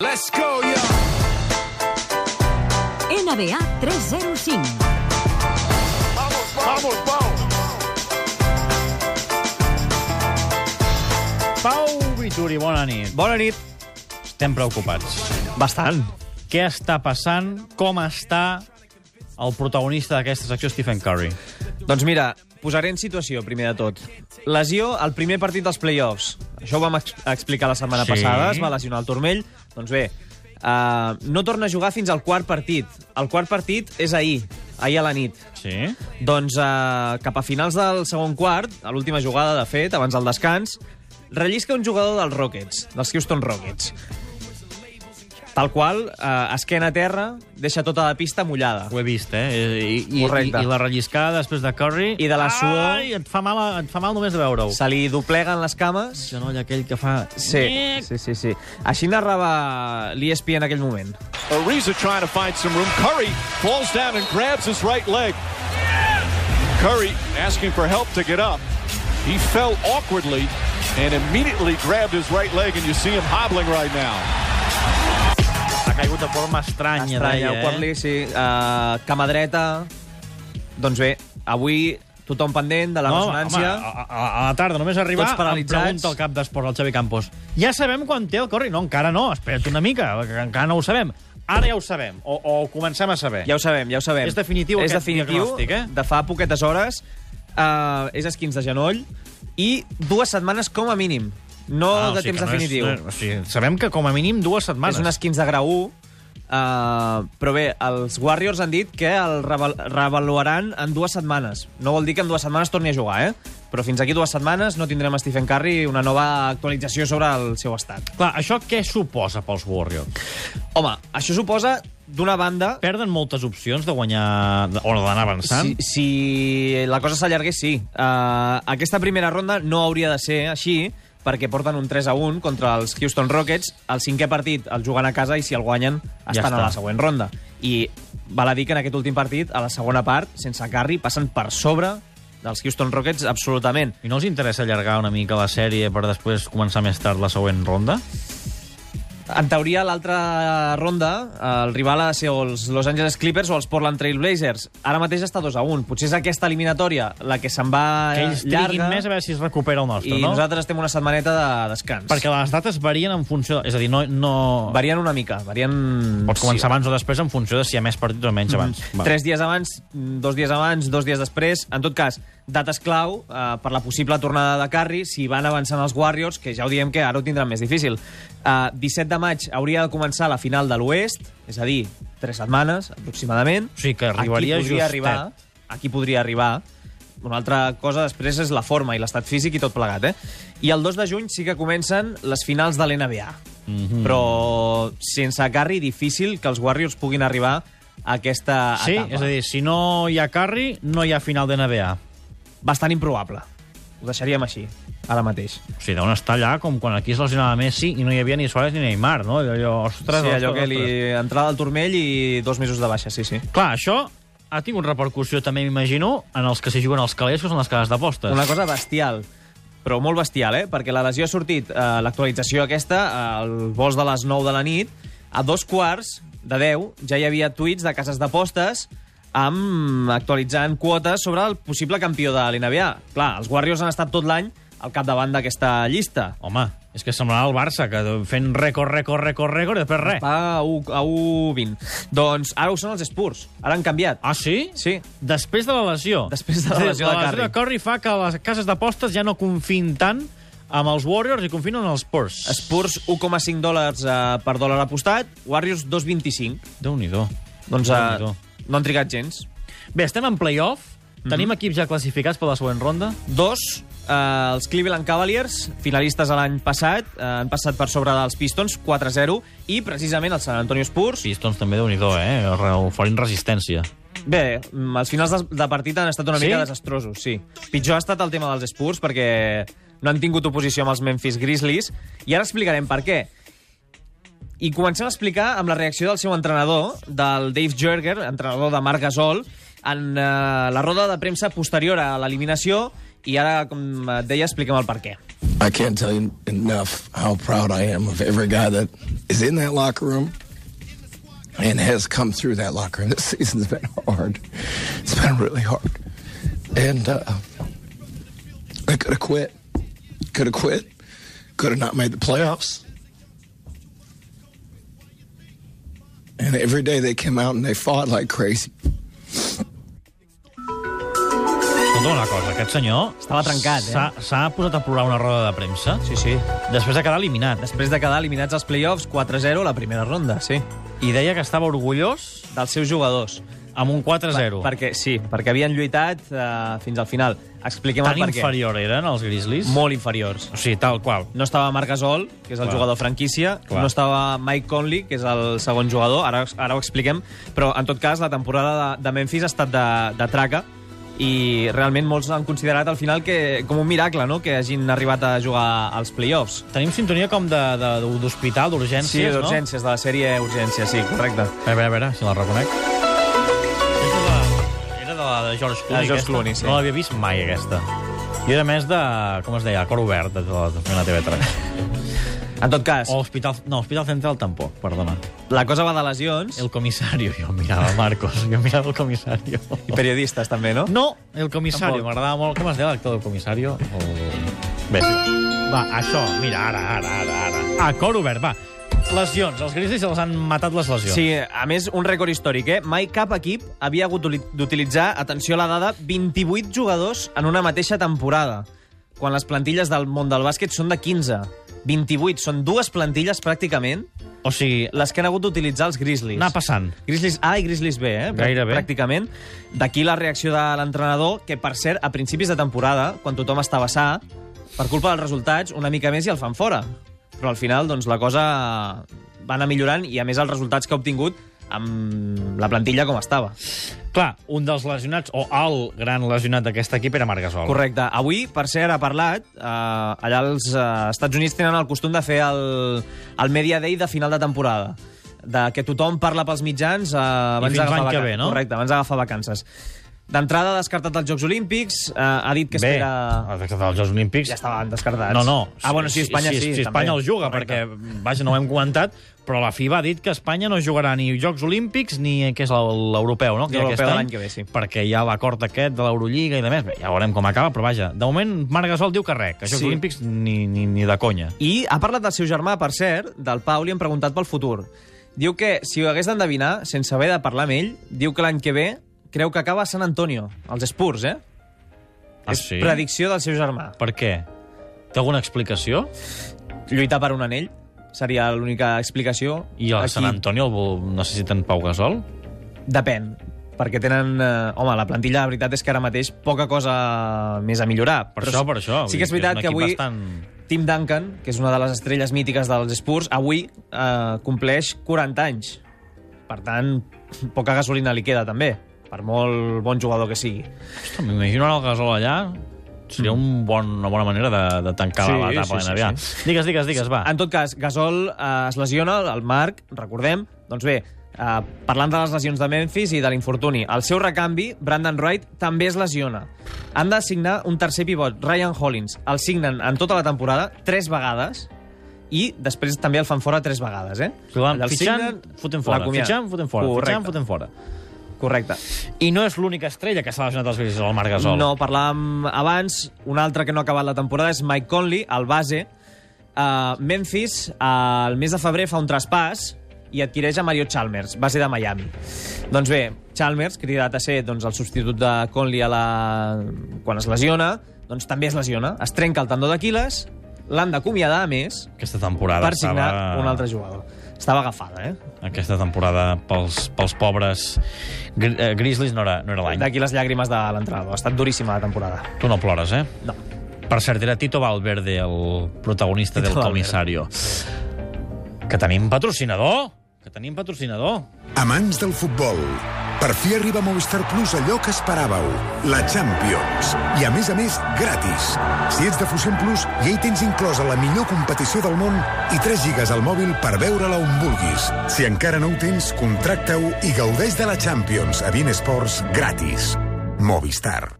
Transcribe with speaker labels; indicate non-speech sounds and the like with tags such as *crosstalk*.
Speaker 1: Let's go, yo!
Speaker 2: NBA 305.
Speaker 1: Vamos, Pau!
Speaker 3: Pau Vituri, bona nit.
Speaker 4: Bona nit.
Speaker 3: Estem preocupats.
Speaker 4: Bastant.
Speaker 3: Què està passant? Com està el protagonista d'aquesta secció, Stephen Curry?
Speaker 4: Doncs mira, posaré en situació, primer de tot. Lesió al primer partit dels playoffs. Això ho vam ex explicar la setmana
Speaker 3: Sí.
Speaker 4: passada, es va lesionar el turmell. Doncs bé, uh, no torna a jugar fins al quart partit. El quart partit és ahir, ahir a la nit.
Speaker 3: Sí?
Speaker 4: Doncs uh, cap a finals del segon quart, a l'última jugada, de fet, abans del descans, rellisca un jugador dels Rockets, dels Houston Rockets. Tal qual, uh, esquena a terra, deixa tota la pista mullada.
Speaker 3: Ho he vist, eh? I, i, i,
Speaker 4: Correcte.
Speaker 3: i la relliscada després de Curry...
Speaker 4: I de la suor.
Speaker 3: Ai, et fa mal, et fa mal només de veure-ho.
Speaker 4: Se li dobleguen les cames.
Speaker 3: genoll aquell que fa...
Speaker 4: Sí, sí, sí, sí. Així narrava l'ESP en aquell moment.
Speaker 1: Ariza trying to find some room. Curry falls down and grabs his right leg. Curry asking for help to get up. He fell awkwardly and immediately grabbed his right leg, and you see him hobbling right now.
Speaker 3: Ha caigut de forma estranya, eh?
Speaker 4: Estranya, eh?
Speaker 3: deia,
Speaker 4: Quartley, sí. Uh, cama dreta. Doncs bé, avui tothom pendent de la
Speaker 3: No, home, ah,
Speaker 4: resonància.
Speaker 3: a, a, a la tarda, només arribar,
Speaker 4: Tots
Speaker 3: em
Speaker 4: paralitzats.
Speaker 3: pregunta el cap d'esports, el Xavi Campos. Ja sabem quan té el Curry? No, encara no, espera't una mica, que encara no ho sabem. Ara ja ho sabem, o, o ho comencem a saber.
Speaker 4: Ja ho sabem, ja ho sabem.
Speaker 3: És definitiu
Speaker 4: és
Speaker 3: aquest
Speaker 4: definitiu,
Speaker 3: diagnòstic, eh?
Speaker 4: De fa poquetes hores. Uh, és esquins de genoll i dues setmanes com a mínim. No
Speaker 3: Ah,
Speaker 4: ah,
Speaker 3: o
Speaker 4: de
Speaker 3: sigui
Speaker 4: temps
Speaker 3: que no és-
Speaker 4: definitiu.
Speaker 3: no, o sigui, sabem que com a mínim dues setmanes.
Speaker 4: És un esquins de grau 1, Uh, però bé, els Warriors han dit que el reval- reavaluaran en dues setmanes. No vol dir que en dues setmanes torni a jugar, eh? Però fins aquí dues setmanes no tindrem a Stephen Curry una nova actualització sobre el seu estat.
Speaker 3: Clar, això què suposa pels Warriors?
Speaker 4: Home, això suposa, d'una banda,
Speaker 3: Perden moltes opcions de guanyar de- o d'anar
Speaker 4: si,
Speaker 3: avançant?
Speaker 4: si la cosa s'allargués, sí. Uh, aquesta primera ronda no hauria de ser així, perquè porten un 3 a 1 contra els Houston Rockets. El cinquè partit el juguen a casa i si el guanyen estan ja a
Speaker 3: està.
Speaker 4: la següent ronda. I val a dir que en aquest últim partit, a la segona part, sense Curry, passen per sobre dels Houston Rockets absolutament.
Speaker 3: I no els interessa allargar una mica la sèrie per després començar més tard la següent ronda?
Speaker 4: En teoria, l'altra ronda, eh, el rival ha de ser o els Los Angeles Clippers o els Portland Trail Blazers. Ara mateix està 2 a 1. Potser és aquesta eliminatòria la que se'n va
Speaker 3: Que ells
Speaker 4: llarga.
Speaker 3: triguin més a veure si es recupera el nostre,
Speaker 4: I
Speaker 3: no?
Speaker 4: nosaltres estem una setmaneta de descans.
Speaker 3: Perquè les dates varien en funció... És a dir, no... no...
Speaker 4: Varien una mica, varien...
Speaker 3: Pots començar abans o després en funció de si hi ha més partits o menys abans.
Speaker 4: Va. Tres dies abans, dos dies abans, dos dies després... En tot cas, dates clau eh, per la possible tornada de Carri, si van avançant els Warriors, que ja ho diem que ara ho tindran més difícil. Eh, 17 de maig hauria de començar la final de l'Oest, és a dir, tres setmanes, aproximadament.
Speaker 3: O sigui que arribaria
Speaker 4: aquí podria
Speaker 3: justet.
Speaker 4: arribar, Aquí podria arribar. Una altra cosa després és la forma i l'estat físic i tot plegat, eh? I el 2 de juny sí que comencen les finals de l'NBA. Mm
Speaker 3: Mhm.
Speaker 4: -hmm. Però sense Carri difícil que els Warriors puguin arribar a aquesta
Speaker 3: Sí,
Speaker 4: etapa.
Speaker 3: és a dir, si no hi ha Curry, no hi ha final de NBA.
Speaker 4: Bastant improbable. Ho deixaríem així, ara mateix.
Speaker 3: O sigui, deuen estar allà com quan aquí es lesionava Messi i no hi havia ni Suárez ni Neymar, no? Allò, allò, ostres,
Speaker 4: sí, allò
Speaker 3: ostres,
Speaker 4: que
Speaker 3: ostres.
Speaker 4: li entrada al turmell i dos mesos de baixa, sí, sí.
Speaker 3: Clar, això ha tingut repercussió també, m'imagino, en els que s'hi juguen els calés, que són les cases d'apostes.
Speaker 4: Una cosa bestial, però molt bestial, eh? Perquè la lesió ha sortit, eh, l'actualització aquesta, eh, al vols de les 9 de la nit, a dos quarts de 10 ja hi havia tuits de cases d'apostes amb actualitzant quotes sobre el possible campió de l'NBA. Clar, els Warriors han estat tot l'any al capdavant d'aquesta llista.
Speaker 3: Home, és que semblarà el Barça, que fent rècord, rècord, rècord, rècord, i després res.
Speaker 4: Va a 1 a 1-20. Doncs ara ho són els Spurs. Ara han canviat.
Speaker 3: Ah, sí?
Speaker 4: Sí.
Speaker 3: Després de la lesió.
Speaker 4: Després de la
Speaker 3: És a dir,
Speaker 4: lesió de
Speaker 3: la lesió de Curry fa que les cases d'apostes ja no confin tant amb els Warriors i confinen en els Spurs.
Speaker 4: Spurs 1,5 dòlars eh, per dòlar apostat, Warriors 2,25.
Speaker 3: Déu-n'hi-do.
Speaker 4: Doncs eh, Mhm.
Speaker 3: Déu-n'hi-do.
Speaker 4: no han trigat gens.
Speaker 3: Bé, estem en playoff. Tenim equips ja classificats per la següent ronda.
Speaker 4: Dos, eh, els Cleveland Cavaliers, finalistes l'any passat, eh, han passat per sobre dels Pistons, 4-0, i precisament el San Antonio Spurs.
Speaker 3: Pistons també, Déu-n'hi-do, eh? Oferint resistència.
Speaker 4: Bé, mm, els finals de, de partit han estat una
Speaker 3: Sí?
Speaker 4: mica desastrosos, sí. Pitjor ha estat el tema dels Spurs, perquè no han tingut oposició amb els Memphis Grizzlies, i ara explicarem per què. I comencem a explicar amb la reacció del seu entrenador, del Dave Jerger, entrenador de Marc Gasol, en eh, la roda de premsa posterior a l'eliminació, i ara, com et deia, expliquem el per què.
Speaker 5: I can't tell you enough how proud I am of every guy that is in that locker room and has come through that locker room. *laughs* This season's been hard. It's been really hard. And uh, I could have quit. Could have quit. Could have not made the playoffs. And every day they came out and they fought like crazy.
Speaker 3: Escolta una cosa, aquest senyor...
Speaker 4: Estava trencat, eh?
Speaker 3: s'ha- S'ha posat a plorar una roda de premsa
Speaker 4: Sí, sí.
Speaker 3: després de quedar eliminat.
Speaker 4: Després de quedar eliminats als play-offs 4-0 a la primera ronda, sí.
Speaker 3: I deia que estava orgullós
Speaker 4: Dels seus jugadors.
Speaker 3: amb un 4-0.
Speaker 4: Perquè, sí, perquè havien lluitat eh, fins al final. Expliquem
Speaker 3: Tan
Speaker 4: el per què.
Speaker 3: inferior eren els Grizzlies?
Speaker 4: Molt inferiors.
Speaker 3: O sigui, tal qual.
Speaker 4: No estava Marc Gasol, que és el
Speaker 3: Clar.
Speaker 4: jugador franquícia,
Speaker 3: Clar.
Speaker 4: no estava Mike Conley, que és el segon jugador, ara, ara ho expliquem, però en tot cas la temporada de, de Memphis ha estat de, de traca i realment molts han considerat al final que, com un miracle no? que hagin arribat a jugar als play-offs.
Speaker 3: Tenim sintonia com de- de- d'hospital,
Speaker 4: Sí,
Speaker 3: d'urgències, no?
Speaker 4: d'urgències, de la sèrie Urgències, sí, correcte.
Speaker 3: A veure, a veure, si la reconec. Aquesta de- Era de la de George Clooney,
Speaker 4: De George
Speaker 3: aquesta?
Speaker 4: Clooney, sí.
Speaker 3: No l'havia vist mai, aquesta. Jo era més de, com es deia, cor obert, de la, de la TV3.
Speaker 4: En tot cas,
Speaker 3: O Hospital... No, Hospital Central tampoc, perdona.
Speaker 4: la cosa va de lesions
Speaker 3: El comisario, jo mirava Marcos, jo mirava el comisario.
Speaker 4: i periodistes també, no?
Speaker 3: No, el comisario,
Speaker 4: Tampoc.
Speaker 3: m'agradava molt. Com es deia l'actor del comisario? El... Bé, sí. va, això, mira, ara, ara, ara, ara. A cor obert, va. Lesions, els grisos els han matat les lesions.
Speaker 4: Sí, a més, un rècord històric, eh? Mai cap equip havia hagut d'uli- d'utilitzar, atenció a la dada, 28 jugadors en una mateixa temporada, quan les plantilles del món del bàsquet són de 15. 28, són dues plantilles pràcticament,
Speaker 3: O sigui,
Speaker 4: les que han hagut d'utilitzar els Grizzlies.
Speaker 3: anar passant.
Speaker 4: Grizzlies A i Grizzlies B, eh?
Speaker 3: Gairebé.
Speaker 4: Pràcticament. D'aquí la reacció de l'entrenador, que, per cert, a principis de temporada, quan tothom estava sa, per culpa dels resultats, una mica més i el fan fora. Però al final, doncs, la cosa va anar millorant i, a més, els resultats que ha obtingut amb la plantilla com estava.
Speaker 3: Clar, un dels lesionats, o el gran lesionat d'aquest equip era Marc Gasol.
Speaker 4: Correcte. Avui, per cert, ha parlat. Eh, allà als eh, Estats Units tenen el costum de fer el, el Media Day de final de temporada de que tothom parla pels mitjans eh, abans
Speaker 3: fins
Speaker 4: d'agafar
Speaker 3: l'any que
Speaker 4: vaca-
Speaker 3: ve, no?
Speaker 4: Correcte, abans d'agafar vacances. D'entrada ha descartat els Jocs Olímpics, eh, ha dit que
Speaker 3: Bé,
Speaker 4: espera...
Speaker 3: els dels Jocs Olímpics...
Speaker 4: Ja estaven descartats.
Speaker 3: No, no.
Speaker 4: Ah, bueno, sí, Espanya sí.
Speaker 3: Si,
Speaker 4: també.
Speaker 3: si Espanya el juga,
Speaker 4: Correcte.
Speaker 3: perquè, vaja, no ho hem comentat, però la FIBA ha dit que Espanya no jugarà ni Jocs Olímpics ni eh, que és el- l'europeu, no? hi ha
Speaker 4: L'europeu
Speaker 3: aquest
Speaker 4: de
Speaker 3: any,
Speaker 4: l'any que ve, sí.
Speaker 3: Perquè hi ha l'acord aquest de l'Eurolliga i de més. Bé, ja veurem com acaba, però vaja, de moment Marc Gasol diu que res, que Jocs
Speaker 4: Sí.
Speaker 3: Olímpics ni, ni, ni de conya.
Speaker 4: I ha parlat del seu germà, per cert, del Pau, li han preguntat pel futur. Diu que, si ho hagués d'endevinar, sense haver de parlar amb ell, diu que l'any que ve creu que acaba a San Antonio, als Spurs, eh?
Speaker 3: Ah,
Speaker 4: És
Speaker 3: sí?
Speaker 4: predicció del seu germà.
Speaker 3: Per què? Té alguna explicació?
Speaker 4: Lluitar per un anell seria l'única explicació.
Speaker 3: I el Sant Antonio el vol- necessiten Pau Gasol?
Speaker 4: Depèn, perquè tenen... Eh, home, la plantilla, la veritat és que ara mateix poca cosa més a millorar.
Speaker 3: Per això, per això.
Speaker 4: Sí que és
Speaker 3: Vull dir
Speaker 4: veritat
Speaker 3: un
Speaker 4: que
Speaker 3: equip
Speaker 4: avui...
Speaker 3: Bastant...
Speaker 4: Tim Duncan, que és una de les estrelles mítiques dels Spurs, avui eh, compleix 40 anys. Per tant, poca gasolina li queda, també, per molt bon jugador que sigui.
Speaker 3: Ostres, M'imagino ara el Gasol allà... Seria un bon, una bona manera de, de tancar
Speaker 4: Mm. Sí,
Speaker 3: l'etapa
Speaker 4: sí, sí,
Speaker 3: NBA. Digues, digues, digues, va.
Speaker 4: *laughs* En tot cas, Gasol eh, es lesiona, el Marc, recordem, doncs bé, eh, parlant de les lesions de Memphis i de l'infortuni, el seu recanvi, Brandon Wright, també es lesiona. Han de signar un tercer pivot, Ryan Hollins. El signen en tota la temporada, tres vegades, i després també el fan fora tres vegades, eh?
Speaker 3: Van
Speaker 4: El
Speaker 3: fitxant,
Speaker 4: signen,
Speaker 3: foten fora,
Speaker 4: l'acomiaden.
Speaker 3: fitxant, foten fora,
Speaker 4: Correcte.
Speaker 3: fitxant, foten fora.
Speaker 4: Correcte.
Speaker 3: I no és l'única estrella que s'ha lesionat als Grizzlies, el Marc Gasol.
Speaker 4: No, parlàvem abans, un altre que no ha acabat la temporada és Mike Conley, el base. Uh, Memphis, uh, el mes de febrer, fa un traspàs i adquireix a Mario Chalmers, base de Miami. Doncs bé, Chalmers, cridat a ser doncs, el substitut de Conley a la... quan es lesiona, doncs també es lesiona. Es trenca el tendó d'Aquiles, l'han d'acomiadar, a més,
Speaker 3: Aquesta temporada
Speaker 4: per signar
Speaker 3: estava...
Speaker 4: un altre jugador. Estava agafada, eh?
Speaker 3: Aquesta temporada pels, pels pobres gri eh, Grizzlies no era, no era l'any.
Speaker 4: D'aquí les llàgrimes de l'entrenador. Ha estat duríssima la temporada.
Speaker 3: Tu no plores, eh?
Speaker 4: No.
Speaker 3: Per cert, era Tito Valverde, el protagonista
Speaker 4: Tito
Speaker 3: del
Speaker 4: Valverde.
Speaker 3: comisario. Que tenim patrocinador! Que tenim patrocinador!
Speaker 6: Amants del futbol, per fi arriba a Movistar Plus allò que esperàveu, la Champions. I a més a més, gratis. Si ets de Fusión Plus, ja hi tens inclosa la millor competició del món i 3 gigas al mòbil per veure-la on vulguis. Si encara no ho tens, contracta-ho i gaudeix de la Champions a Bein Sports gratis. Movistar.